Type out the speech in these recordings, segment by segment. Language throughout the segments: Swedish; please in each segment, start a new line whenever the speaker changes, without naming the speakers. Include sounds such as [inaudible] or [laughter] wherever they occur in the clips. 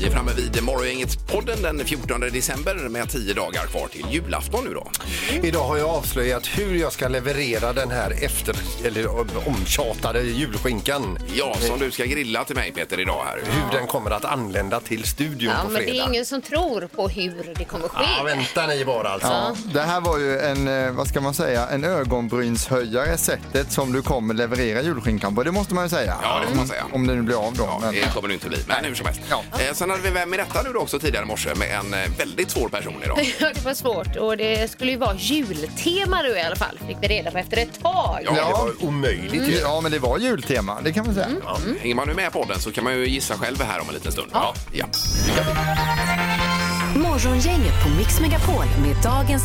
Vi är framme vid Morgongänget-podden den 14 december med 10 dagar kvar till julafton nu då.
Idag har jag avslöjat hur jag ska leverera den här efter, eller eh, omtjatade julskinkan.
Ja, som du ska grilla till mig Peter idag här.
Mm.
Hur den kommer att anlända till studion
Ja,
på
men det
fredag.
är ingen som tror på hur det kommer ske.
Ja, vänta ni bara alltså.
Ja, det här var ju en, eh, vad ska man säga, en ögonbrynshöjare sättet som du kommer leverera julskinkan på. Det måste man ju säga.
Ja, det får man säga.
Om det nu blir av då.
Ja,
men-
det kommer det inte bli, men hur som helst.
Ja.
Eh, sen hade vi Vem är detta nu då också tidigare i morse med en eh, väldigt svår person idag.
Ja, [laughs] det var svårt och det skulle ju vara jultema då i alla fall, fick vi reda på efter ett tag.
Ja,
Det var omöjligt
Mm.
ju.
Ja, men det var jultema, det kan man säga.
Ja. [laughs] Hänger man nu med podden så kan man ju gissa själv här om en liten stund. Ja. ja.
Morgongänget på Mix Megapol med dagens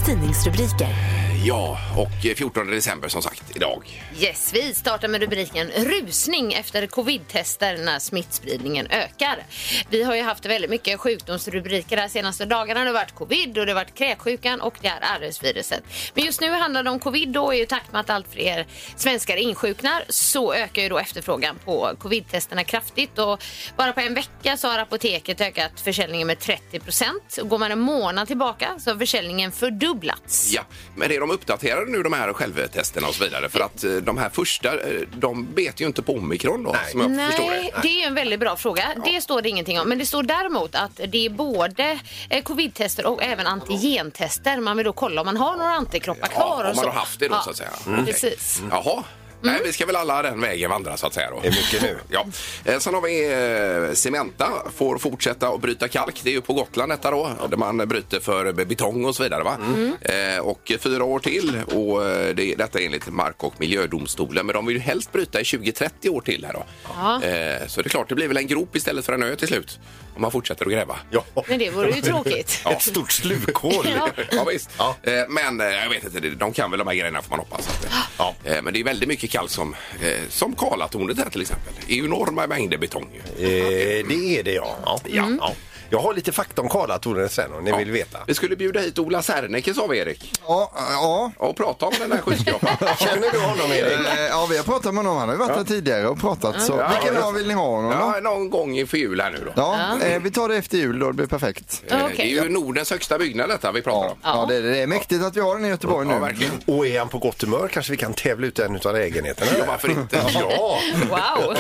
tidningsrubriker.
Ja, och eh, 14 december som sagt idag.
Yes, vi startar med rubriken Rusning efter covid-tester när smittspridningen ökar. Vi har ju haft väldigt mycket sjukdomsrubriker de senaste dagarna. Det har varit covid och det har varit kräksjukan och det är RS-viruset. Men just nu handlar det om covid då och i takt med att allt fler svenskar insjuknar så ökar ju då efterfrågan på covid-testerna kraftigt och bara på en vecka så har apoteket ökat försäljningen med 30 procent. Går man en månad tillbaka så har försäljningen fördubblats.
Ja, men är de uppdaterade nu de här självtesterna och så vidare? För att eh, de här första, eh, de bet ju inte på omikron då, som jag förstår det.
Nej, det är en väldigt bra fråga. Det står det ingenting om. Men det står däremot att det är både eh, covid-tester och även antigentester. Man vill då kolla om man har några antikroppar
Ja,
kvar.
om
och
man
så.
har haft det då så att säga. Mm.
Ja,
Okej.
Precis. Mm.
Jaha. Nej, vi ska väl alla den vägen vandra så att säga. Då.
Det är mycket nu.
Ja. Eh, Sen har vi eh, Cementa, får fortsätta att bryta kalk. Det är ju på Gotland detta då, där man bryter för betong och så vidare. Va? Eh, Och fyra år till, och eh, det, detta enligt Mark och miljödomstolen. Men de vill ju helst bryta i 20-30 år till här då.
Ja.
Eh, Så det är klart, det blir väl en grop istället för en ö till slut. Om man fortsätter att gräva.
Ja. eh,
Men det vore ju tråkigt.
Ett stort slukhål.
Ja.
Ja, visst.
Ja.
Eh, Men eh, jag vet inte, det- de kan väl de här grejerna får man hoppas. att, eh,
Ja.
eh, Men det är väldigt mycket kalk som, eh, som Karlatornet här till exempel. Det är ju enorma mängder betong. ju.
Eh, det är det ja. ja.
Mm.
ja. Jag har lite fakta om Karlatornet sen om ni vill veta.
Vi skulle bjuda hit Ola Serneke sa vi Erik
Ja, ja.
och prata om den här skyskrapan.
Känner du honom Erik?
Eh, ja, vi har pratat med honom. Han har ju varit här tidigare och pratat. Så. Vilken dag vill ni ha honom då?
ja, någon gång inför jul här nu då.
Ja, eh, vi tar det efter jul då, det blir perfekt.
Eh,
Okej.
Det är ju Nordens högsta byggnad detta vi pratar
Ja,
om.
ja det, är- det är mäktigt att vi har den i Göteborg
Ja,
nu.
verkligen.
Och är han på gott humör kanske vi kan tävla ut en utav lägenheterna.
Ja, varför inte?
Ja,
Wow.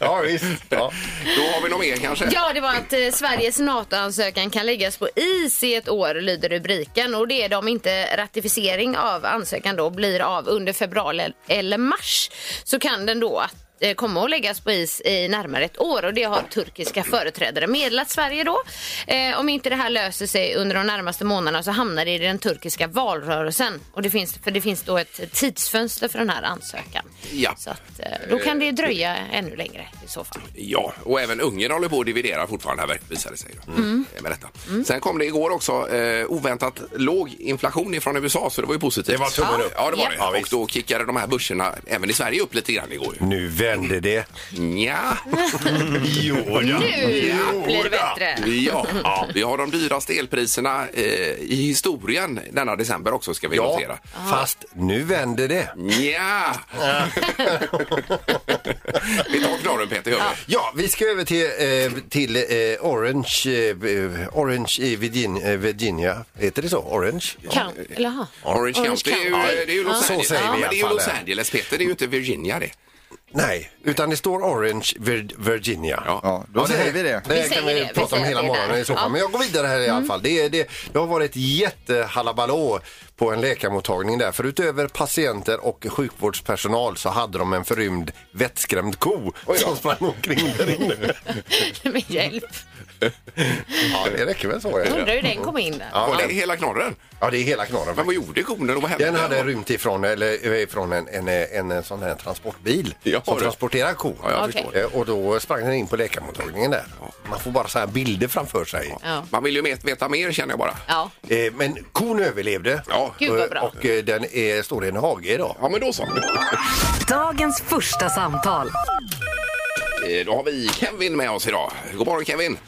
ja visst. Ja.
Då har vi något mer kanske?
Ja, det var att eh, Sveriges NATO-ansökan kan läggas på is i ett år, lyder rubriken. Och det är det om inte ratificering av ansökan då blir av under februari eller mars så kan den då att eh, komma att läggas på is i närmare ett år och det har turkiska företrädare meddelat Sverige då. Eh, om inte det här löser sig under de närmaste månaderna så hamnar det i den turkiska valrörelsen och det finns, för det finns då ett tidsfönster för den här ansökan.
Ja.
Så att, eh, då kan det dröja ännu längre i så fall.
Ja, och även Ungern håller på att dividera fortfarande här visar det sig. Då. Eh, Med detta. Sen kom det igår också eh, oväntat låg inflation ifrån USA så det var ju positivt.
Det var tummen upp.
Ja, det var
Ja.
det. Och då kickade de här börserna även i Sverige upp lite grann igår. ju.
Nu vände det.
Nja.
Jo,
Nu blir det bättre.
Ja. ja, vi har de dyraste elpriserna eh, i historien denna december också ska vi notera.
Ja, fast nu vänder det.
Nja. [laughs] vi tar knorren Peter. gör vi.
Ja, vi ska över till, eh, till eh, Orange, eh, Orange i Virgin, eh, Virginia. Heter det så? Orange?
Kan, eller, aha.
Orange County, det är ju,
County.
det är ju
Ja.
Los
Så
Angeles.
säger vi i
Men det är ju
alla
Los
fall.
Angeles Peter, det är ju inte Virginia det.
Nej, utan det står Orange Vir- Virginia.
Ja.
Ja, då säger
här-
vi det.
Det här kan
säger
vi,
det, vi
prata om
säger
hela
det
morgonen
där.
i så fall.
Ja. Mm.
Men jag går vidare här i alla fall. Det, är- det, det har varit jättehalabalå på en läkarmottagning där. För utöver patienter och sjukvårdspersonal så hade de en förrymd vettskrämd ko som sprang omkring där inne.
[laughs] Med hjälp.
Ja, det räcker väl så.
Jag
Ja,
undrar hur den kom in där.
Var
ja,
det hela knorren?
ja det är hela knorren.
Men vad gjorde konen och vad hände?
Den hade rymt ifrån, eller, eh, ifrån en, en, en, en sån här transportbil
Ja,
som
du.
transporterar kor.
Ja, jag
Okej.
förstår.
Eh, Och då sprang den in på läkarmottagningen där. Man får bara så här bilder framför sig.
Ja.
Man vill ju met- veta mer känner jag bara.
Ja.
Eh, Men kon överlevde
Ja.
Gud, vad bra.
och, och eh, den är, står i en hage idag.
Ja, men då så.
Dagens första samtal.
Eh, Då har vi Kevin med oss idag. God morgon Kevin!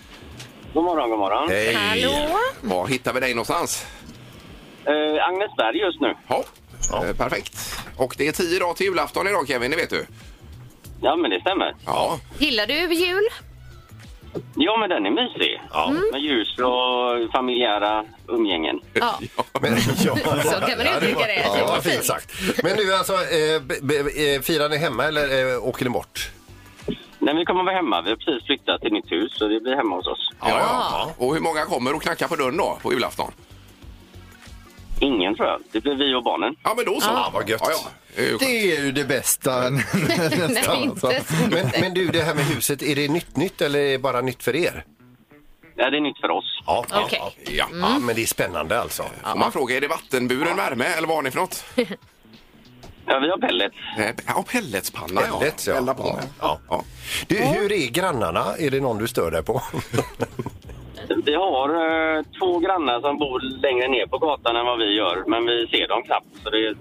God morgon, god morgon.
Hej!
Hallå?
Var hittar vi dig någonstans?
Eh, Agnesberg just nu.
Ja. Eh, Perfekt. Och det är tio dagar till julafton idag Kevin, det vet du.
Ja, men det stämmer.
Ja,
Gillar du jul?
Ja, men den är mysig.
Mm.
Med ljus och familjära umgängen.
Ja.
Men,
Så
ja,
kan man uttrycka det.
Ja, det var
Vad
fint
fint.
sagt. Men nu alltså, eh, be- be- eh, firar ni hemma eller eh, åker ni bort?
Nej, vi kommer vara hemma. Vi har precis flyttat till nytt hus, så det blir hemma hos oss.
Ja, ja. Och hur många kommer och knackar på dörren då på julafton?
Ingen, tror jag. Det blir vi och barnen.
Ja, men då så.
Ja, vad gött.
Ja, ja. Det är ju skönt.
Det är ju det [laughs]
[laughs]
bästa.
Nej, inte så.
Men, men du, det här med huset, är det nytt nytt eller är det bara nytt för er?
Ja, det är nytt för oss.
Ja, ja,
Okej.
ja.
Ja.
ja men det är spännande alltså.
Om man frågar, är det vattenburen värme eller vad har ni för något?
Ja, vi har pellet.
Eh, Ja, pelletspanna. ja.
Lätt, ja.
Elda på med.
Ja. Ja. Du, hur är grannarna? Är det någon du stör
[laughs]
dig på?
Vi har eh, två grannar som bor längre ner på gatan än vad vi gör, men vi ser dem knappt. Så det,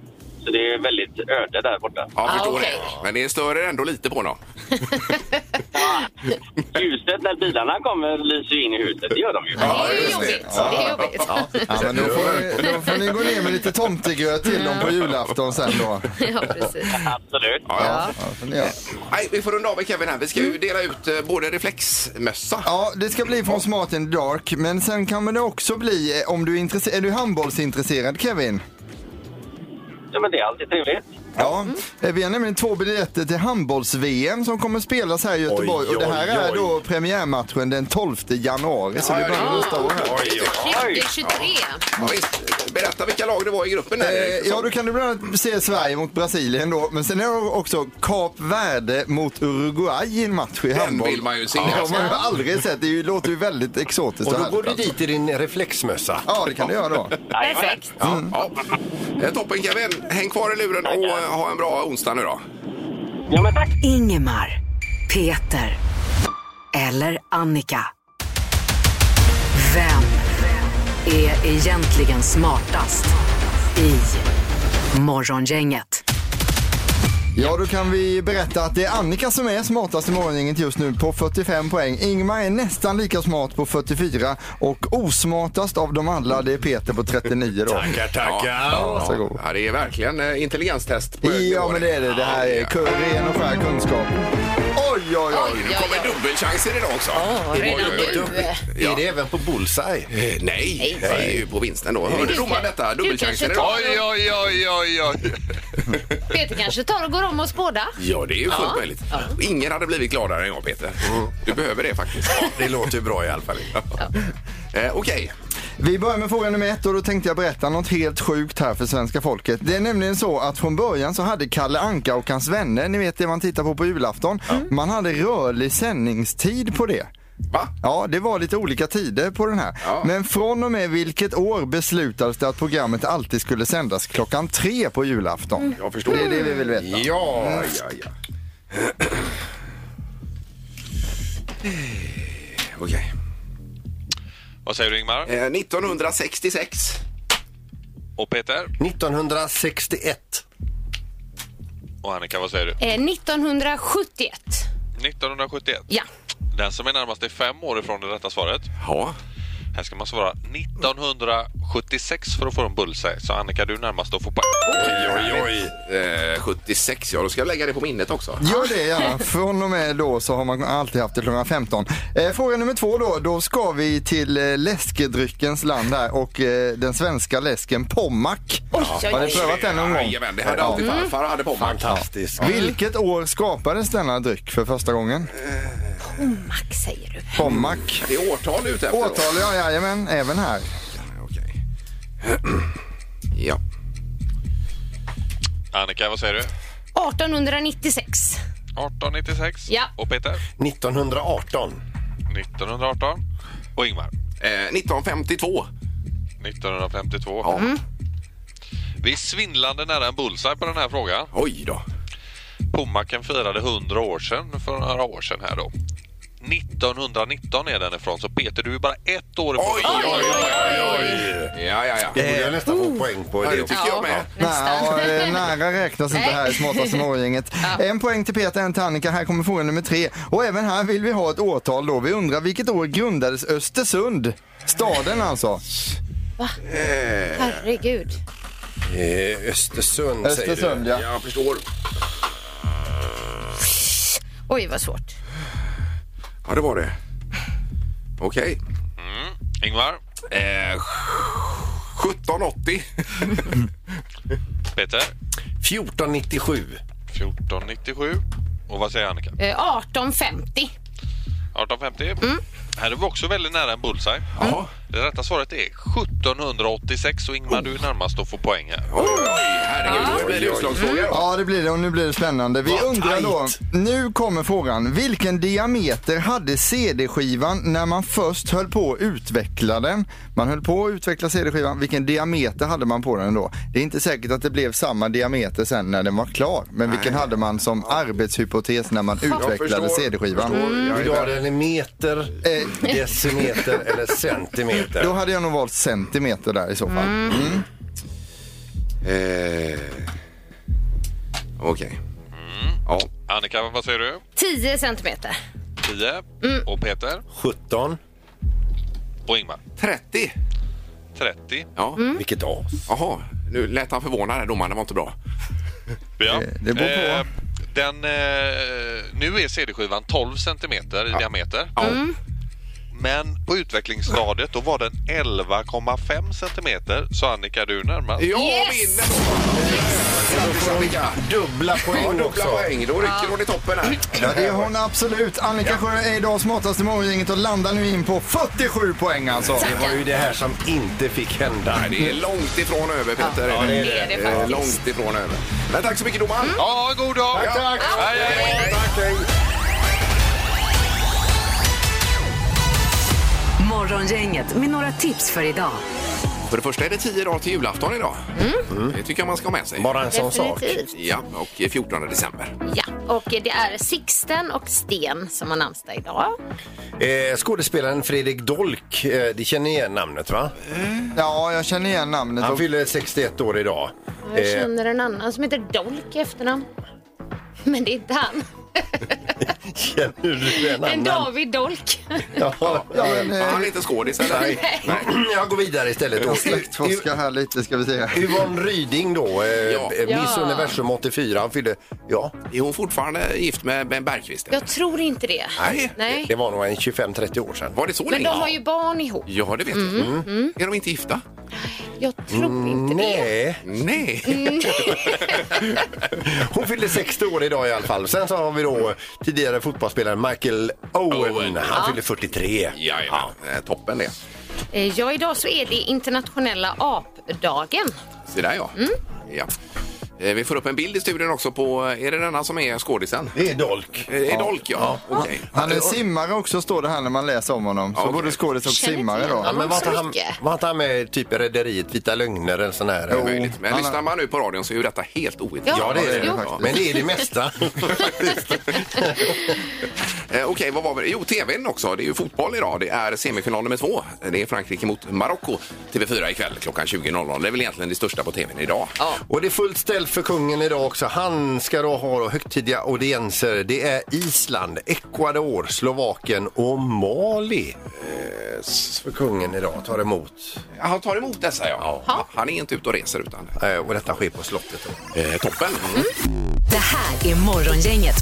så det är väldigt öde där borta.
Ja, jag
Ah,
förstår
okej.
det. Men ni stör er ändå lite på dem.
Ljuset när bilarna kommer lyser ju in i huset. Det gör de ju.
Det är ju jobbigt. Det är jobbigt.
Ja, men då, får, då får ni gå ner med lite tomtegröt till dem på julafton sen då.
[laughs] Ja, precis.
Absolut.
Ja, får ni göra.
Nej, vi får runda av med Kevin här. Vi ska ju dela ut eh, både reflexmössa.
Mm. Ja, det ska bli från Smart and Dark, men sen kan det också bli, eh, om du är intresserad, är du handbollsintresserad Kevin?
Ja, men det är alltid trevligt.
Ja, eh, vi har nämligen två biljetter till handbolls-VM som kommer spelas här i Göteborg
Oj,
och det här
oj,
är
oj.
då premiärmatchen den 12 januari, så det är bara nästa år här.
Det är 23.
Ja, visst. Berätta vilka lag det var i gruppen där,
Eh,
Erik.
Ja, då kan du bland annat se Sverige mot Brasilien då. Men sen är det också Kap Verde mot Uruguay i en match i handboll.
vill man ju se.
Ja, man har ju aldrig sett. Det är ju- låter ju väldigt exotiskt och
Och då
härligt,
går du
alltså.
dit i din reflexmössa.
Ja, det kan du göra då.
Perfekt.
mm.
Ja. Eh, Toppen Kevin. Häng kvar i luren och eh, ha en bra onsdag nu då.
Ja, men tack.
Ingemar, Peter eller Annika. Vem är egentligen smartast i Morgongänget?
Ja, då kan vi berätta att det är Annika som är smartast i morgongänget just nu på 45 poäng. Ingmar är nästan lika smart på 44 och osmartast av dem alla det är Peter på 39 då.
Tackar, tackar.
Varsågod.
Ja, det är verkligen eh, intelligenstest på hög
Ja,
nivå
men det är det. Det här är
Ja,
ren och skär kunskap. Oj, oj, oj.
Nu kommer dubbelchanser idag också. Oj,
redan
oj, oj.
nu.
Ja.
Är det även på bullseye?
Eh, Nej, det är ju på vinsten då. Hörde domaren detta?
Du kanske
Dubbelchanser idag?
tar
Oj, oj, oj, oj, oj.
Peter kanske tar och går om oss båda.
Ja, det är ju fullt möjligt. Ingen hade blivit gladare än jag, Peter. Du behöver det faktiskt.
Det låter ju bra i
[laughs]
alla fall.
Eh, Okej.
Vi börjar med fråga nummer ett och då tänkte jag berätta något helt sjukt här för svenska folket. Det är nämligen så att från början så hade Kalle Anka och hans vänner, ni vet det man tittar på på julafton, man hade rörlig sändningstid på det.
Va?
Ja, det var lite olika tider på den här.
Ja.
Men från och med vilket år beslutades det att programmet alltid skulle sändas klockan tre på julafton?
Mm. Jag förstår.
Det är det vi vill veta.
Ja, ja, ja. Eh, Okej.
Vad säger du Ingmar?
Eh, 1966.
Och Peter?
1961.
Och Annika, vad säger du?
Eh, 1971.
1971.
Ja.
Den som är närmast är fem år ifrån det rätta svaret.
Ja.
Här ska man svara 1976 för att få en bullseye. Så Annika, du är närmast att få poäng.
Oj, oj.
Eh, 76, ja. Då ska jag lägga det på minnet också.
Gör det gärna. Från och med då så har man alltid haft det klockan 15. Eh, fråga nummer två då. Då ska vi till eh, läskedryckens land här och eh, den svenska läsken Pommac.
oj,
har ni
oj.
prövat den någon gång?
Jajamän, det hade alltid farfar hade på mig.
Fantastiskt.
Vilket år skapades denna dryck för första gången?
Max säger du.
Pommac.
Det är årtal ute efter. då.
Årtal, ja jajamän, även här.
Okej. [clears throat] Ja.
Annika, vad säger du?
1896.
1896.
Ja.
Och Peter?
1918.
1918. Och Ingmar?
Eh, 1952.
1952.
Ja.
Vi är svindlande nära en bullseye på den här frågan.
Oj då.
Pommacken firade 100 år sedan för några år sedan här då. 1919 är den ifrån, så Peter du är bara ett år ifrån.
Oj, oj, oj, oj. Ja, ja, ja.
Det borde jag nästan få poäng på.
Eh. Ja,
Det
det
också.
tycker jag med.
Nej,
Nästan.
och, eh, nära räknas inte
Nej.
här i smartaste morgongänget. En poäng till Peter, en till Annika. Här kommer fråga nummer tre. Och även här vill vi ha ett årtal då. Vi undrar vilket år grundades Östersund? Staden alltså.
[laughs] Herregud.
Eh, Östersund, säger du.
Östersund ja.
Jag förstår.
Oj, vad svårt.
Ja, det var det. Okej.
Ingvar?
Eh, 1780.
Peter?
1497.
1497. Och vad säger Annika?
Eh, 1850.
1850. Här är vi också väldigt nära en bullseye.
Jaha.
Det rätta svaret är 1786 och Ingmar du är närmast att få poäng här.
Oj, herregud. Nu blir det utslagsfråga. då.
Ja, det blir det och nu blir det spännande. Vi
Vad
undrar då,
tajt.
nu kommer frågan. Vilken diameter hade CD-skivan när man först höll på att utveckla den? Man höll på att utveckla CD-skivan. Vilken diameter hade man på den då? Det är inte säkert att det blev samma diameter sen när den var klar. Men vilken hade man som arbetshypotes när man utvecklade
förstår,
CD-skivan?
förstår.
Vill du ha Mm. den i meter,
Eh.
[laughs] decimeter eller centimeter?
Då hade jag nog valt centimeter där i så fall.
Eh, Okej. Ja.
Annika, vad säger du?
10 centimeter.
10. Och Peter?
17.
Och Ingmar?
30.
30.
Ja.
Vilket as.
Jaha, nu lät han förvånad här. Domaren, det var inte bra.
Ja.
det beror på.
Eh, den, eh, nu är CD-skivan 12 centimeter i diameter.
Ja.
Men på utvecklingsstadiet då var den 11,5 centimeter. Så Annika, du är närmast.
Jag
Yes!
vinner! Grattis Annika!
Dubbla poäng
Ja, dubbla
också.
poäng. Då rycker hon i toppen här.
Ja, det är hon absolut. Annika Sjö är idag smartaste morgongänget och landar nu in på 47 poäng alltså.
Det var ju det här som inte fick hända.
Nej, det är långt ifrån över Peter.
Ja, det är
det. Det är det
Eh,
faktiskt.
Långt ifrån över. Men tack så mycket domaren.
Ja, god dag!
Tack, tack.
Hej, hej.
Tack, hej.
Morgongänget med några tips för idag.
För det första är det 10 dagar till julafton idag. Det tycker jag man ska ha med sig.
Bara en sån sak.
Definitivt.
Ja, och 14 december.
Ja, och det är Sixten och Sten som har namnsdag idag.
Eh, skådespelaren Fredrik Dolk, eh, det känner ni igen namnet va?
Ja, jag känner igen namnet.
Han
och-
fyller 61 år idag.
Jag
Eh.
känner en annan som heter Dolk i efternamn. Men det är inte han.
Känner du
En
en annan?
David Dolk.
Ja,
Ja,
eh,
men, eh,
Han är inte skådis eller? Nej.
Jag går vidare istället.
Jag släktforskar här lite ska vi se. här.
Yvonne Ryding då, eh,
Ja.
eh, Miss
Ja.
Universum 84. Han fyllde, ja,
Är hon fortfarande gift med Ben Bergqvist? eller?
Jag tror inte det.
Nej.
Nej.
det var nog en 25-30 år sedan.
Var det så
Men
länge?
de har ju Mm, barn ihop.
Ja, det vet jag. Mm. Är de inte gifta?
Jag tror inte det.
Nej,
Mm, Nej.
Mm.
hon fyllde 60 år idag i alla fall. Sen så har vi då tidigare fotbollsspelaren Michael Owen.
Owen.
Han fyllde 43.
Jajamän, eh, toppen det.
Eh, Ja, idag så är det internationella apdagen.
Se där ja.
Mm.
ja. Eh, Vi får upp en bild i studion också på, eh, är det denna som är skådisen?
Det är Dolk.
Eh, Är Dolk ja. Okej.
Han är simmare också står det här när man läser om honom. Så
Ja, okej.
både skådis och
Känner
simmare
till
då.
Ja, men var,
Så
inte han,
mycket.
var inte han med typ i Rederiet, Vita Lögner eller sån här?
Det är möjligt. Men
Han-
lyssnar man nu på radion så är ju detta helt ointressant.
Ja, det är det.
Jo.
Ja. Men det är det mesta.
Eh, Okej, vad var vi? Jo, tvn också. Det är ju fotboll idag. Det är semifinal nummer två. Det är Frankrike mot Marocko. TV4 ikväll klockan 20.00. Det är väl egentligen det största på tvn idag.
och det är fullt ställt för kungen idag också. Han ska då ha högtidliga audienser. Det är Island, Ecuador, Slovakien och Mali. Eh, s- För kungen idag tar emot.
Ja, Han tar emot dessa, ja. Han är inte ute och reser utan...
Eh, Och detta sker på slottet. Då.
Eh, toppen!
Mm.
Det här är Morgongänget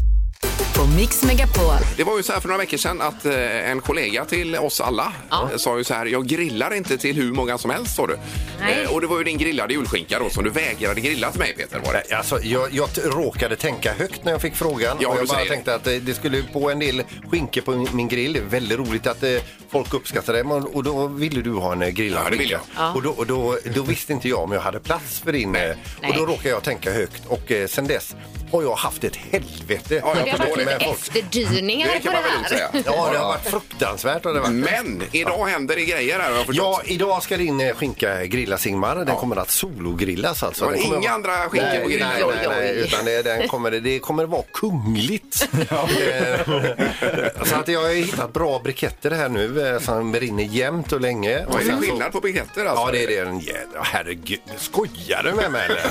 på Mix Megapol.
Det var ju så här för några veckor sedan att eh, en kollega till oss alla eh, sa ju så här, jag grillar inte till hur många som helst, sa du.
Nej.
Eh, och det var ju din grillade julskinka då som du vägrade grilla till mig, Peter. Var det?
Nej, Alltså, jag, jag t- råkade tänka högt när jag fick frågan.
Ja,
och
du
jag bara
säger det.
tänkte att eh, det skulle på en del skinkor på min- min grill. Det är väldigt roligt att eh, folk uppskattar det. Men- Och då ville du ha en eh, grillad
Ja, det ville
skinka. Och, då, och då, då visste inte jag om jag hade plats för din. eh, Och då
Nej.
råkade jag tänka högt. Och eh, sen dess har jag haft ett helvete.
Ja, jag
Det har
förstår
varit lite
det.
efterdyningar
Det
på
kan
det
man väl lugnt
här.
säga.
Ja, det har varit fruktansvärt. Har det varit.
Men idag händer det grejer här har jag förstått.
Ja, idag ska din eh, skinka grillas Ingmar. Den kommer att sologrillas alltså.
Ja,
Den kommer
inga
vara-
andra skinkor
nej,
på grillen.
Nej, nej, nej,
Oj, oj.
utan det, den kommer, det kommer att vara kungligt.
[laughs]
Eh, så att jag har hittat bra briketter här nu eh, som brinner jämnt och länge. Och
Vad är det
sen så-
skillnad på briketter alltså?
Ja, det är det. En jädra... Herregud, skojar du med mig eller?
[laughs]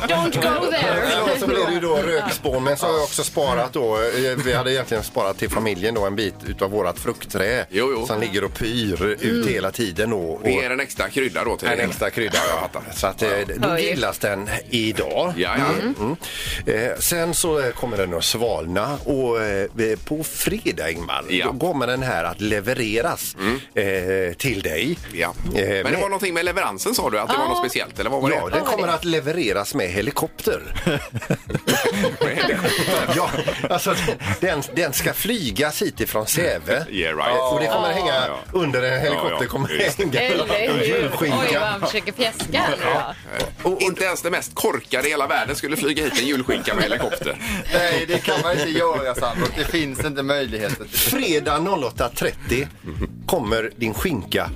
Don't go there.
Ja, så blev det ju då rökspån. Men så har jag också sparat då. eh, Vi hade egentligen sparat till familjen då en bit utav vårat fruktträd.
Jo, jo.
Som ligger och pyr ut hela tiden då. Och
Det är en extra krydda då till
en
det hela.
extra krydda.
Ja,
Ja.
jag fattar.
Så att eh, då grillas den idag.
Ja, ja.
Mm. Eh, sen så eh, kommer den att svalna och eh, på fredag Ingmar,
Ja. Mm.
då kommer den här att levereras eh, till dig.
Ja.
Eh,
Men det var någonting med leveransen sa du, att det var något speciellt eller vad var det?
Ja, den kommer att levereras med
[laughs]
helikopter. ja, alltså, den, den ska flygas hit ifrån Säve.
[laughs] Yeah, right.
Eh, Och det kommer
Ah.
hänga
Ja.
under en helikopter.
Ja, ja,
kommer
just det.
hänga
Eller
en
hur? Oj, vad
julskinka.
han försöker fjäska här nu då.
Inte ens det mest korkade i hela världen skulle flyga hit en julskinka med helikopter.
Nej, det kan man inte göra Sandro. Det finns inte möjligheter till
Fredag 08.30 kommer din skinka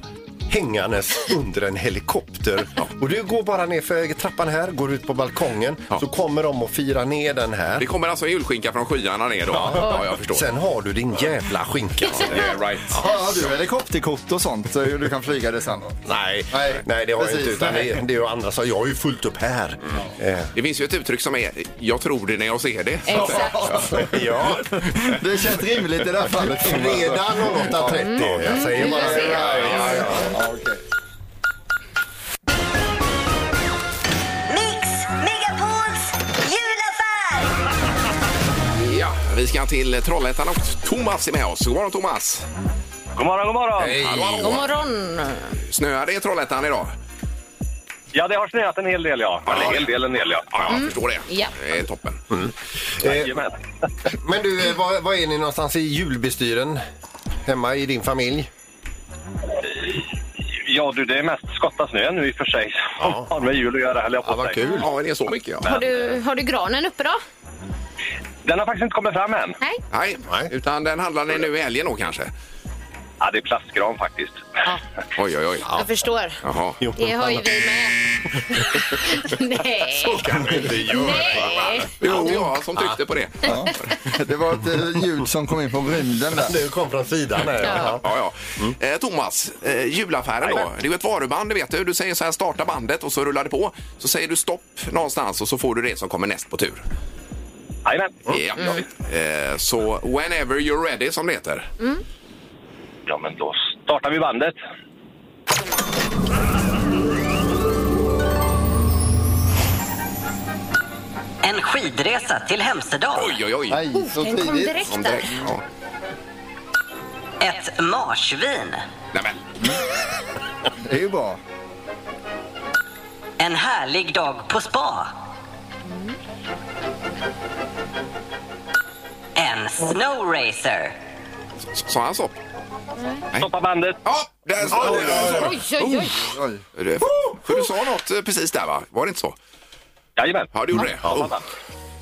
hängandes under en helikopter. Och du går bara ner för trappan här, går ut på balkongen,
Ja.
så kommer de att fira ner den
Det
här.
kommer alltså en julskinka från skyarna ner då? Ja, jag förstår.
Sen har du din jävla skinka.
Yeah, right.
Har du helikopterkort och sånt så du kan flyga det sen då?
Nej,
Nej,
nej det har jag
precis,
inte. Utan
nej.
det, det är ju andra som, jag har ju fullt upp här. Eh,
Det finns ju ett uttryck som är “jag tror det när jag ser det”.
Exakt.
[laughs] ja,
Det känns rimligt i det här fallet.
fredag 08.30.
Mm.
Jag säger bara det. Ja, ja, ja.
Mix Megapols julaffär!
Ja, vi ska till Trollhättan och Thomas är med oss. God morgon Thomas!
God morgon, god morgon.
Hallå,
God
hallå.
morgon.
Snöar det i Trollhättan idag?
Ja, det har snöat en hel del, ja. Eller en hel del, en hel, ja.
Ja, jag förstår det.
Mm. Ja.
Det är toppen.
Eh,
Jajamän.
men du, eh, var, var är ni någonstans i julbestyren? Hemma i din familj?
Ja, du, det är mest skotta snö nu i och för sig.
Ja.
Ja. Har med jul att göra, höll jag på
Ja, vad
att säga.
kul.
Ja, det är så mycket ja.
Har du, har du granen uppe då?
Den har faktiskt inte kommit fram än.
Nej?
Nej,
Nej.
utan den handlar ni nu i helgen då kanske?
Ja, det är plastgran faktiskt.
Ja,
Oj, oj, oj.
jag förstår.
Jaha.
Det har ju vi med. Nej.
kan du inte göra.
Nej.
Det var jag som tryckte på det.
Ja. Det var ett eh, ljud som kom in på rymden där.
Du kom från sidan. här,
Ja,
Ja.
ja. Eh, Thomas, eh, julaffären då. Det är ju ett varuband, det vet du. Du säger så här, starta bandet och så rullar det på. Så säger du stopp någonstans och så får du det som kommer näst på tur.
Jajamän.
Ja. Eh, så whenever you're ready, som det heter.
Ja, men då startar vi bandet.
En skidresa till Hemsedal.
Oj, oj, oj.
Aj, så
Den kom
tidigt.
direkt
Om
där.
direkt. Ja.
Ett marsvin.
Nej, men.
Det är ju bra.
En härlig dag på spa. En snowracer.
S- Sa han stopp?
Stoppa bandet.
Ja, där står det.
Oj, oj, oj.
Oj.
Det- För du sa något eh, precis där, va? Var det inte så?
Jajamän.
Ja, du gjorde det.
Ja,
Oh.
fattar.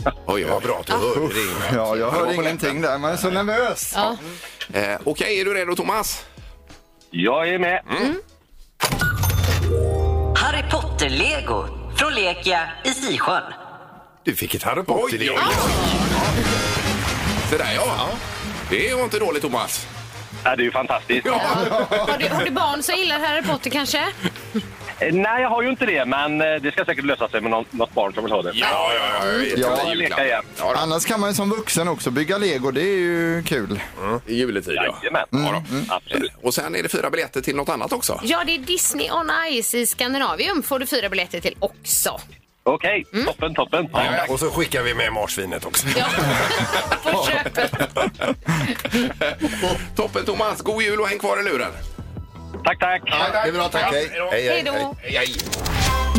Oj, Ah. oj,
Vad bra att du hörde det. Ingmar.
Ja, jag hörde ingenting där. Man är så nervös.
Ja.
oj. Eh, Okej, är du redo, Thomas?
Jag är med.
Harry Potter-lego från Lekia i Sisjön.
Du fick ett Harry Potter-lego.
Det där, ja. Det var inte dåligt, Thomas.
Ja, det är ju fantastiskt.
Ja.
Har du, har du barn som gillar Harry Potter kanske?
Eh, Nej, jag har ju inte det, men eh, det ska säkert lösa sig med någon, något barn som vill ha det.
Ja, ja, Mm. ja.
Ja.
Det är julklapp.
Leka igen.
Ja, då.
Annars kan man ju som vuxen också bygga lego. Det är ju kul.
I juletid, ja.
Jajamän.
Ja, då.
Absolut.
Och sen är det fyra biljetter till något annat också.
Ja, det är Disney on Ice i Skandinavium får du fyra biljetter till också.
Okej, toppen, toppen.
Ja, Och så skickar vi med marsvinet också.
Ja, [laughs] på köpet.
[laughs] Toppen Thomas, god jul och häng kvar i luren.
Tack, tack.
Ja, det är bra, tack. Hej. Hej,
Hej då.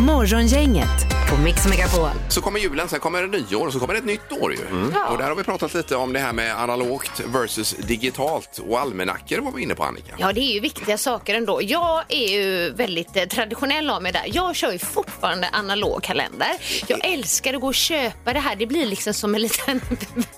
Morgongänget på Mix Megapol.
Så kommer julen, sen kommer det nyår och så kommer det ett nytt år ju.
Mm.
Och där har vi pratat lite om det här med analogt versus digitalt och almanackor var vi inne på Annika.
Ja, det är ju viktiga saker ändå. Jag är ju väldigt eh, traditionell av mig där. Jag kör ju fortfarande analog kalender. Jag älskar att gå och köpa det här. Det blir liksom som en liten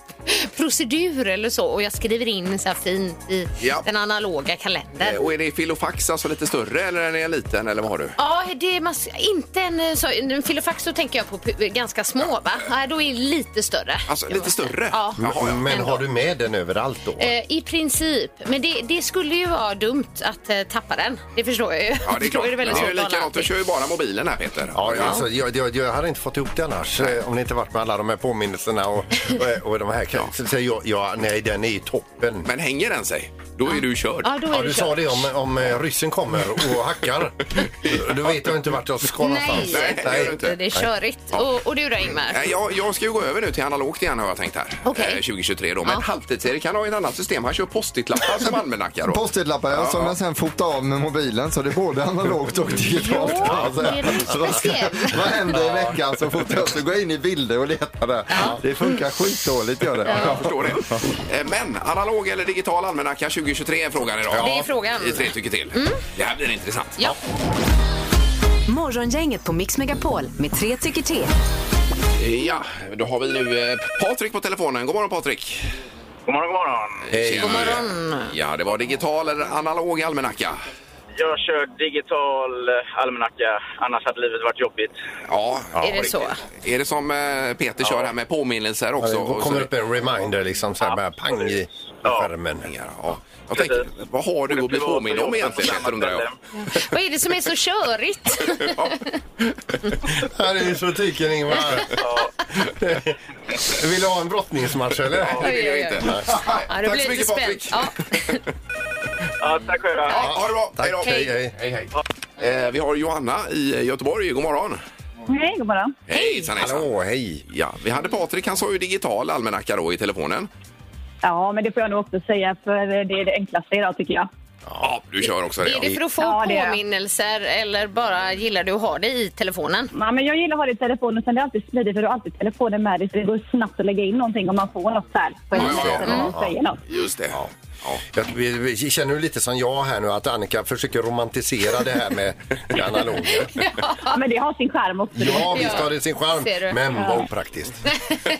[laughs] procedur eller så. Och jag skriver in så här fint i
Ja.
den analoga kalendern.
Eh, Och är det filofax, alltså lite större eller är det liten eller vad har du?
Ja, det är mass- inte en, eh, så, en filofax så tänker jag på pu- ganska små va? Nej, då är det lite större.
Alltså,
Det
lite
var-
större?
Ja.
Jaha, ja.
Men
Ändå.
har du med den överallt då?
Eh, I princip, men det, det skulle ju vara dumt att eh, tappa den. Det förstår jag ju.
Ja, det
[laughs] Då
är klart.
det
Men
väldigt
det
svårt att
är ju
hålla
likadant, du
allting.
kör ju bara mobilen här Peter.
Ja, Alltså, jag, jag, jag hade inte fått ihop det annars eh, om det inte varit med alla de här påminnelserna och, och, och de här. Ja. Så, så, jag, jag, nej, den är ju toppen.
Men hänger den sig, då är du körd.
Ja, då är
Ja,
det
du
kört.
sa det om, om eh, ryssen kommer och hackar. Då vet jag inte vart jag ska någonstans.
Nej,
det gör du inte.
det är körigt. Och, och du då Ingmar?
Nej, Eh, Jag, jag ska ju gå över nu till analogt igen har jag tänkt här.
Okej.
Eh, 2023 då. Men
Ja.
halvtids-Erik kan ha ett annat system. Han kör
[laughs]
post-it-lappar som almanacka då.
Postitlappar ja, som jag sen fotar av med mobilen så det är både analogt och digitalt. Alltså,
Jo, det är lite
så vad ska-
speciellt.
vad händer i veckan så fotar jag så går jag in i bilder och letar där. Det funkar skitdåligt gör det.
Jag förstår det. Eh, Men analog eller digital almanacka 2023 är frågan idag.
Det är frågan. Mm.
I tre tycker till. Det här blir intressant.
Ja.
Morgongänget på Mix Megapol med tre tycker till.
Ja, då har vi nu eh, Patrik på telefonen. God morgon Patrik!
God morgon, god morgon.
Tjena.
God morgon.
Ja, det var digital eller analog almanacka.
Jag kör digital eh, almanacka, annars hade livet varit jobbigt.
Ja,
Är det så?
Är det som eh, Peter kör här med påminnelser
Ja,
också?
det
Och
kommer
så-
upp en reminder liksom så här bara pang i, i
Ja.
skärmen.
Ja. Jag tänker,
Precis.
vad har du att bli
Privat och
påmind om
jobbet på
egentligen,
samma
Peter, undrar jag?
ställe.
Vad är det som är så körigt?
Ja.
Här är ju så tiken Ingmar. [laughs] Vill du ha en brottningsmatch eller?
Det vill jag
Oj, oj, oj.
inte.
Ja,
Nej.
det
Tack
blir lite
så mycket, Patrik.
spänt. Ja.
Ja, tack själva.
Ja, ha det bra. Hej då.
Hej, hej.
Hej, hej. Eh, vi har Johanna i Göteborg. God morgon.
Hej, god morgon.
Hejsan, hejsan.
Hallå, hej.
Ja, vi hade Patrik, han sa ju digital almanacka då i telefonen.
Ja, men det får jag nog också säga för det är det enklaste idag tycker jag.
Ja, du kör också det.
Är det
ja.
för att få
Ja, det är det.
påminnelser eller bara gillar du att ha det i telefonen?
Ja, men jag gillar att ha det i telefonen, sen det är alltid smidigt för du har alltid telefonen med dig så det går snabbt att lägga in någonting om man får något så här. För
Ja, ja, ja.
att man säger något.
Just det. Ja.
Jag, vi, vi känner ju lite som jag här nu att Annika försöker romantisera det här med
[laughs]
det analoga.
Ja, men det har sin charm också.
Ja, visst har det sin
Ser du?
charm, men vad opraktiskt.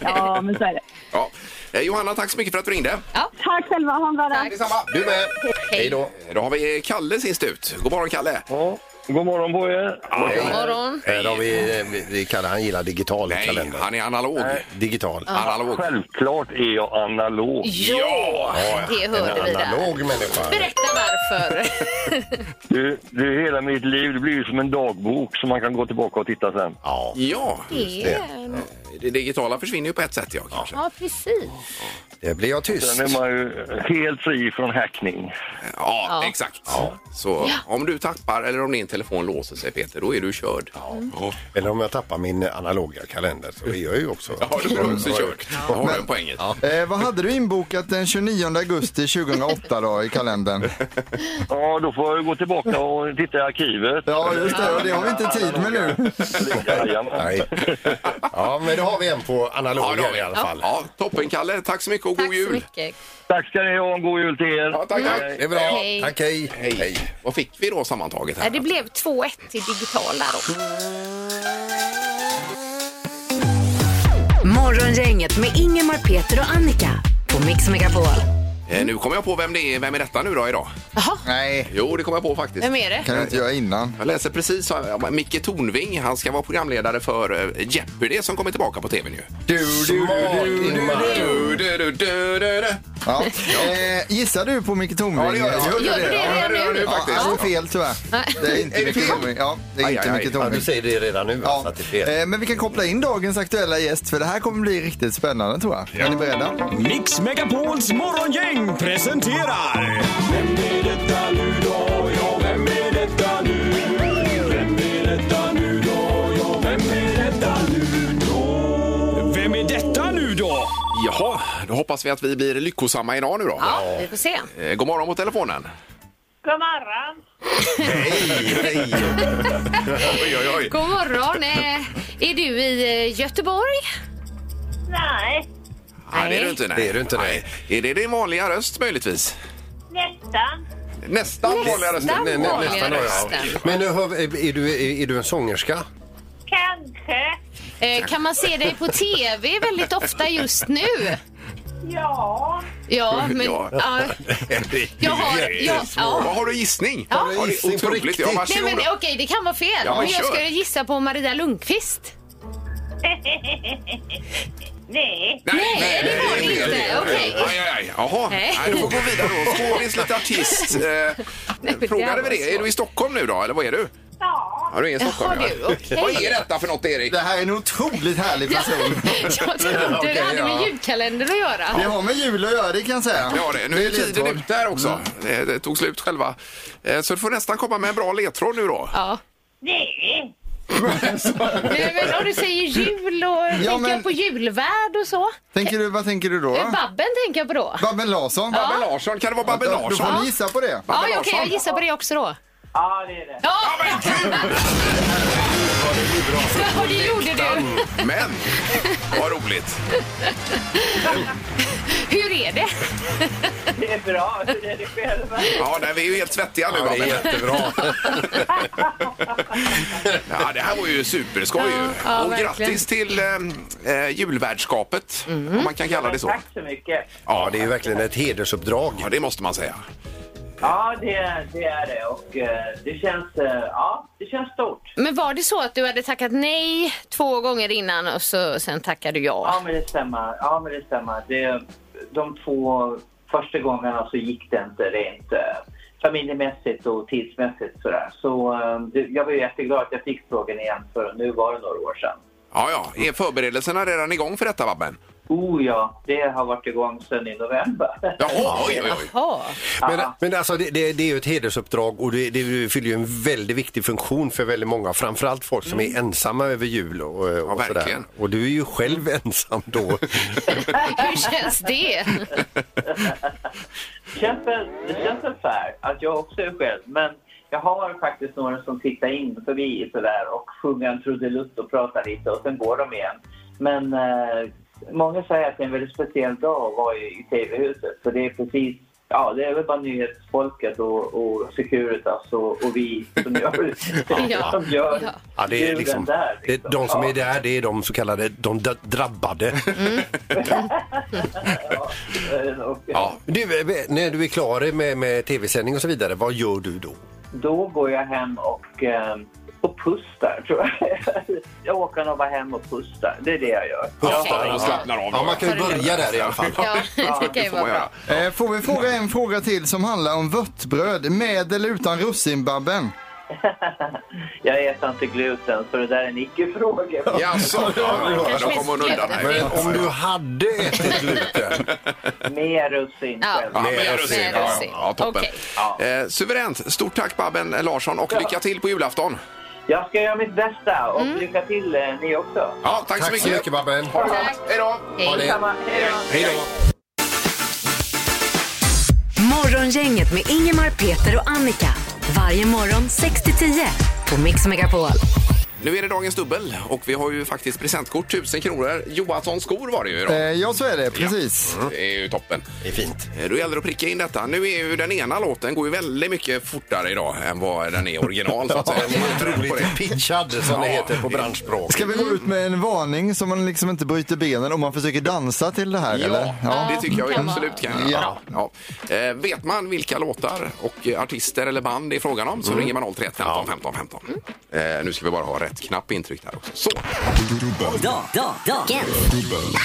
Ja, men så är det.
Ja. Eh, Johanna, tack så mycket för att du ringde.
Tack själva, ha en bra dag.
Du med.
Hej.
Hej då.
Då har vi Kalle sist ut. God morgon, Kalle.
Ja, god morgon på er.
God morgon.
Här har vi, eh, vi- vi kallar han gillar digital
Nej,
kalender.
han är analog.
Digital.
Analog.
Självklart är jag analog.
Ja, det hörde vi
En
där.
analog människa.
Berätta varför.
Du, du, hela mitt liv det blir ju som en dagbok som man kan gå tillbaka och titta sen.
Ja.
Ja,
Det.
det digitala försvinner ju på ett sätt, ja, kanske.
Ja, precis.
Det Eh, blir jag tyst.
Sen är man ju helt fri från hackning.
Ja,
Ja.
exakt. Så om du tappar eller om din telefon låser sig, Peter, då är du körd. Ja,
Eller om jag tappar min analoga kalender så är jag ju också...
ja då är du också körd. Då har du poängen.
Eh, vad hade du inbokat den 29 augusti 2008 då i kalendern?
Ja, då får jag ju gå tillbaka och titta i arkivet.
Ja, just det. Och det har vi inte tid med nu.
Jajamän.
Nej. Ja, men då har vi en på
Ja,
analoga
det har vi.
i alla fall.
Ja, toppen, Kalle. Tack så mycket och god
Tack så
jul.
mycket.
Tack ska ni ha och god jul till er.
Ja, tack, tack.
Det är bra.
Hej.
Tack, hej.
Hej. Vad fick vi då sammantaget?
Nej,
Här?
Det blev 2-1 till digitala då.
Morgongänget med Ingemar, Peter och Annika på Mix Megapol.
Eh, Nu kommer jag på vem det är. Vem är detta nu då idag?
Jaha,
Nej,
Jo, det kommer jag på faktiskt.
vem är det?
kan du inte göra innan.
Jag läser precis om Micke Tornving. Han ska vara programledare för eh, Jeopardy som kommer tillbaka på tv nu.
Du, du, du, du, du.
Du, du, du, du, du, du.
Ja. Eh, gissar du på Micke Tornving?
Ja, det gör jag.
Gjorde
Gör du det
Ja.
Ja, det gör
redan nu?
du
Ja,
faktiskt.
han är fel tyvärr. Det är inte
Är det
Micke
fel?
Tornving. Ja, det är
Aj,
inte
aj, aj.
Micke
Ja,
Tornving.
du säger det redan nu alltså
Ja.
att det är fel.
Eh, Men vi kan koppla in dagens aktuella gäst för det här kommer bli riktigt spännande tror jag. Är ni beredda?
Mix Megapols morgongäng presenterar... Vem är detta nu då? Ja, vem är detta nu? Vem är detta nu då? Ja, vem är detta nu då? Vem är detta nu då?
Jaha, då hoppas vi att vi blir lyckosamma idag nu då.
Ja, vi får se.
Eh, God morgon på telefonen.
God morgon.
Eh,
Hej, hej.
Oj, oj, oj.
God morgon. eh, Är du i eh, Göteborg?
Nej,
Nej, det är du inte. Nej.
Det är du inte, nej.
Är det din vanliga röst möjligtvis?
nästan.
Nästan vanliga röst.
Nästan
Nej, nej,
vanliga
nästan, ja, ja.
rösten.
Men nu hör, vi- är, du, är, är du en sångerska?
Kanske.
Eh, Kan man se dig på TV väldigt ofta just nu?
Ja. [laughs]
Ja, men...
Ja.
Ja. Jag har... Jag, ja.
Vad har du gissning?
Ja.
Har du
Gissning på
Otroligt. Ja,
riktigt?
Nej,
varsågoda.
men okej, det kan vara fel.
Ja,
men jag
kör.
skulle gissa på Maria Lundqvist.
Nej.
Nej,
Nej, det var det inte. Okej.
Aj, aj, aj. Jaha,
Nej.
nej. du får gå vidare då. Skådis,
[laughs]
lite artist. Eh,
men
frågade
det
vi
var
det?
svårt.
Är du i Stockholm nu då, eller vad är du?
Ja.
Ja, du är i Stockholm.
Jaha, du,
ja.
okej.
Vad är detta för något, Erik?
Det här är en otroligt härlig
[laughs]
person.
Jag
[laughs]
trodde
Okej,
det hade
ja.
med julkalendern att göra.
Det har med jul att göra, det kan jag säga.
Ja, det. Nu är tiden
ledtråd.
ute här också. Det, det tog slut själva. Eh, Så du får nästan komma med en bra ledtråd nu då.
Ja.
Nej.
Nej, men om du säger jul och tänker
men-
jag på julvärd och så.
Tänker du, vad tänker du då?
Eh, Babben tänker jag på då.
Babben Larsson?
Babben Larsson, kan det vara Babben
Då får
Larsson?
ni gissa på det.
Ja,
Babben
okej, jag
Larsson.
gissar på det också då.
Ja, det är det.
Ja, ja det gjorde du.
Men, vad roligt.
Hur är det?
Det är bra. Hur är det själv?
Ja, nej, vi är ju helt svettiga nu.
Ja, det är
Babben.
jättebra.
[laughs] Ja, det här var ju superskoj ju.
ja,
och
verkligen.
grattis till eh, eh, julvärdskapet, om man kan kalla det
Mm.
så.
så mycket.
Ja, det är ju verkligen ett hedersuppdrag.
Ja, det måste man säga.
Ja, det, det är det. Och eh, det känns, eh, ja, det känns stort.
Men var det så att du hade tackat nej två gånger innan och så, sen tackade du ja?
Ja, men det stämmer. Ja, men det stämmer. Det, de två första gångerna så gick det inte rent eh, familjemässigt och tidsmässigt sådär. Så eh, det- jag var ju jätteglad att jag fick frågan igen för nu var det några år sedan.
Ja, ja. Är förberedelserna redan igång för detta, Babben?
Oh ja, det har varit igång sedan i november. [laughs]
Jaha, oj, oj, oj.
Ja.
Men, men alltså, det, det, det är ju ett hedersuppdrag och det, det fyller ju en väldigt viktig funktion för väldigt många. Framförallt folk som är ensamma över jul och, och sådär.
verkligen.
Och du är ju själv ensam då.
Hur känns
[laughs]
det?
Det känns väl- det känns väl fair att jag också är själv, men jag har faktiskt några som tittar in förbi sådär och sjunger en trudelutt och pratar lite och sen går de igen. Men eh, många säger att det är en väldigt speciell dag att vara i, i TV-huset för det är precis Ja, det är väl bara nyhetsfolket och, och Securitas och, och vi som gör,
[laughs] Ja.
som gör
Ja.
Ja, det är
julen
liksom,
där.
det,
liksom.
de som
Ja.
är där, det är de så kallade de d- drabbade.
Eh, och-
Ja.
Du, eh, när du är klar med, med tv-sändning och så vidare, vad gör du då?
Då går jag hem och, eh, och pustar, tror jag. [laughs] jag åker nog bara hem och pustar. Det är det jag gör.
Ja, de slappnar av.
Ja, man kan ju
Ta det
börja där i alla fall.
Ja, det kan
Det
ju
får
vara
man
bra.
göra.
Eh, Får vi fråga en fråga till som handlar om vörtbröd? Med eller utan russinbabben?
jag äter inte gluten, så det där är
[laughs]
en icke-fråga.
Jaså, ja, ja, då kommer hon undan här.
Men om du hade ätit gluten,
Mer russin
Ja.
själv.
Ja, men
Med
jag
russin,
russin.
med
Ja,
russin.
ja, toppen.
Okej.
Eh, suveränt. Stort tack Babben Larsson och lycka till på julafton.
Jag ska göra mitt bästa och lycka till eh, ni också.
Ja, tack,
tack så mycket Babben.
Ha det
Tack.
gott. Hej då.
Ha det.
Samma. Hej då.
Hej då.
Morgongänget med Ingemar, Peter och Annika. Varje morgon 6 till 10 på Mix Megapol.
Nu är det dagens dubbel och vi har ju faktiskt presentkort, 1000 kronor. Johanssons skor var det ju
Eh,
idag.
Ja, så är det. Precis.
Det är ju toppen.
Det är fint.
Eh, Då gäller det att pricka in detta. Nu är ju den ena låten går ju väldigt mycket fortare idag än vad den är original så att [laughs] säga. Man tror på det.
Otroligt pitchad som det
Ja.
heter på branschspråk.
Ska vi gå ut med en varning så man liksom inte bryter benen om man försöker dansa till det här?
Ja,
Eller?
det tycker jag
kan
absolut kan jag göra. ja. Eh, Vet man vilka låtar och eh, artister eller band det är frågan om så ringer man 031 15 15 15. Eh, nu ska vi bara ha rätt knapp intryckt här också. Så!
Dag, dag, dagens.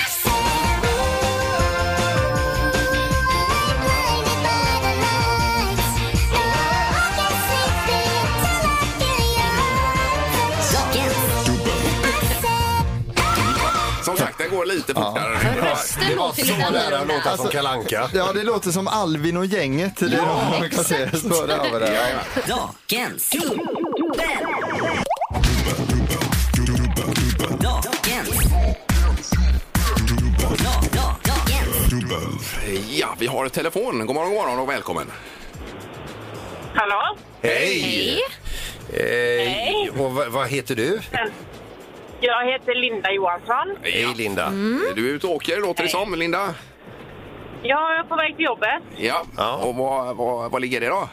Som sagt, den går lite fortare. Ja.
Rösten
Det var
låter
så
lite
nära
annorlunda.
låta som Kalle Anka.
Alltså, Ja, det låter som Alvin och gänget. Det ja, de kan se. Så där var det. Ja.
Dagens dubbel. Dagens. Dag, dag, dagens.
Eh, ja, vi har telefon. God morgon, god morgon och välkommen.
Hallå?
Hej!
Hej.
Eh, och vad, vad heter du?
Jag heter Linda Johansson.
Hej Linda. Eh, Du är ute och åker låter det som, Linda.
Jag är på väg till jobbet.
Ja. Och vad, vad, vad ligger det då?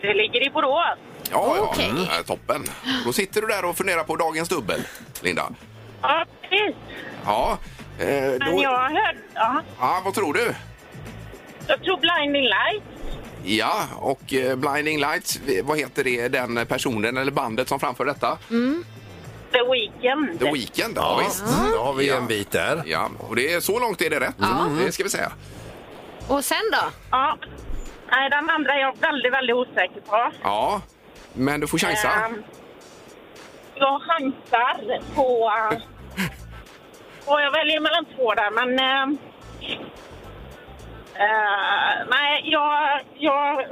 Det ligger i Borås.
Ja, ja.
Okej.
Mm, eh, toppen. Då sitter du där och funderar på dagens dubbel, Linda.
Ja, precis.
Ja, eh,
Men
då,
jag hörde... Ja.
ja vad tror du?
Jag tror Blinding Light.
Ja, och eh, Blinding Lights, eh, vad heter det, den personen eller bandet som framför detta?
The Weeknd.
The Weeknd, Mm. ja, visst. Då har vi en bit där. Ja, och det är, så långt är det rätt. Det ska vi säga.
Och sen då?
Ja. Nej, den andra är jag väldigt, väldigt osäker på.
Ja, men du får chansa.
Ehm, jag chansar på... eh, [laughs] och jag väljer mellan två där, men... ehm, eh, nej, jag, jag,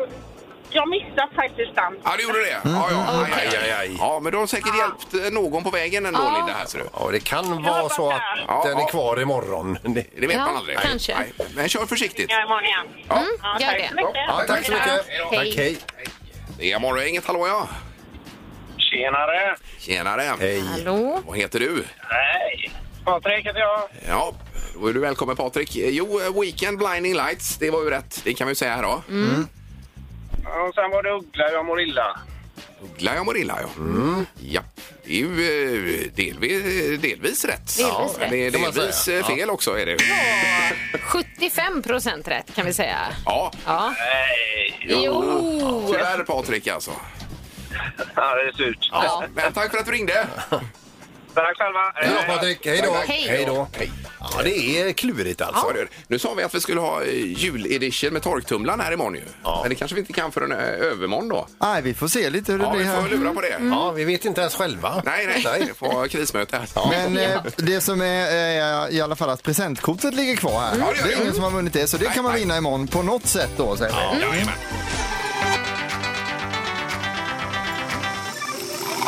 jag missade faktiskt den.
Ja, du gjorde det. Ja, ja, aj, aj, aj, aj. Mm. ja, men du har säkert hjälpt eh, någon på vägen ändå,
Ja.
Linda. Här, ser du.
Ja, det kan vara så att den är kvar imorgon. Det,
Det vet man aldrig. Nej, Men kör försiktigt.
Jag är imorgon igen.
Ja.
Ja,
gör
tack
det.
så mycket.
Ja, tack så mycket.
då.
Tack, hej. Det är morgongänget, hallå ja.
Tjenare!
Tjenare. Hej.
Hallå.
Vad heter du?
Nej, Patrik heter jag.
Ja, då är du välkommen Patrik. Jo, eh, Weekend Blinding Lights, det var ju rätt. Det kan vi ju säga här då.
Och sen var det Uggla, jag mår illa.
Uggla jag mår illa ja. Ja, det är ju eh, delvis, delvis rätt.
Delvis
ja,
rätt.
men Det är
Kan man
delvis
säga.
eh, fel
Ja.
också är det.
75 procent rätt kan vi säga.
Ja.
Ja.
Nej.
Jo.
Tyvärr Patrik alltså.
Ja, det är surt.
Ja. Men tack för att du ringde.
Tack själva.
Hej då Patrik, hej då.
Tack, tack.
Hej då.
Ja, det är klurigt alltså. Nu sa vi att vi skulle ha eh, juledition med torktumlaren här imorgon ju. Men det kanske vi inte kan förrän eh, övermorgon då.
Nej, vi får se lite hur det
Ja,
blir
vi
här.
får lura på det.
Ja, vi vet inte ens själva.
Nej, nej, nej. Vi får ha krismöte här.
Men eh, det som är eh, i alla fall att presentkortet ligger kvar här.
Ja, det
det
gör det.
är ingen som har vunnit det, så det kan man vinna imorgon på något sätt då säger
Ja,
vi.
jajamän.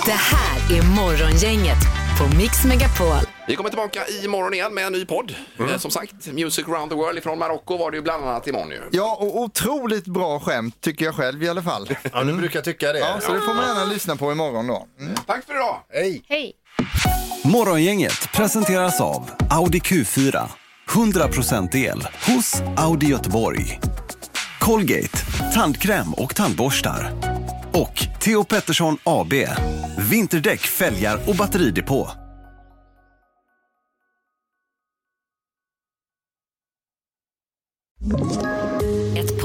Det här är Morgongänget på Mix Megapol.
Vi kommer tillbaka imorgon igen med en ny podd. Eh, Som sagt, Music around the world ifrån Marocko var det ju bland annat imorgon ju.
Ja, och otroligt bra skämt tycker jag själv i alla fall.
Ja, du brukar tycka det.
Ja, så det får man gärna lyssna på imorgon då.
Tack för idag!
Hej!
Hej!
Morgongänget presenteras av Audi Q4. 100% el hos Audi Göteborg. Colgate, tandkräm och tandborstar. Och Theo Pettersson AB, vinterdäck, fälgar och batteridepå.
Ett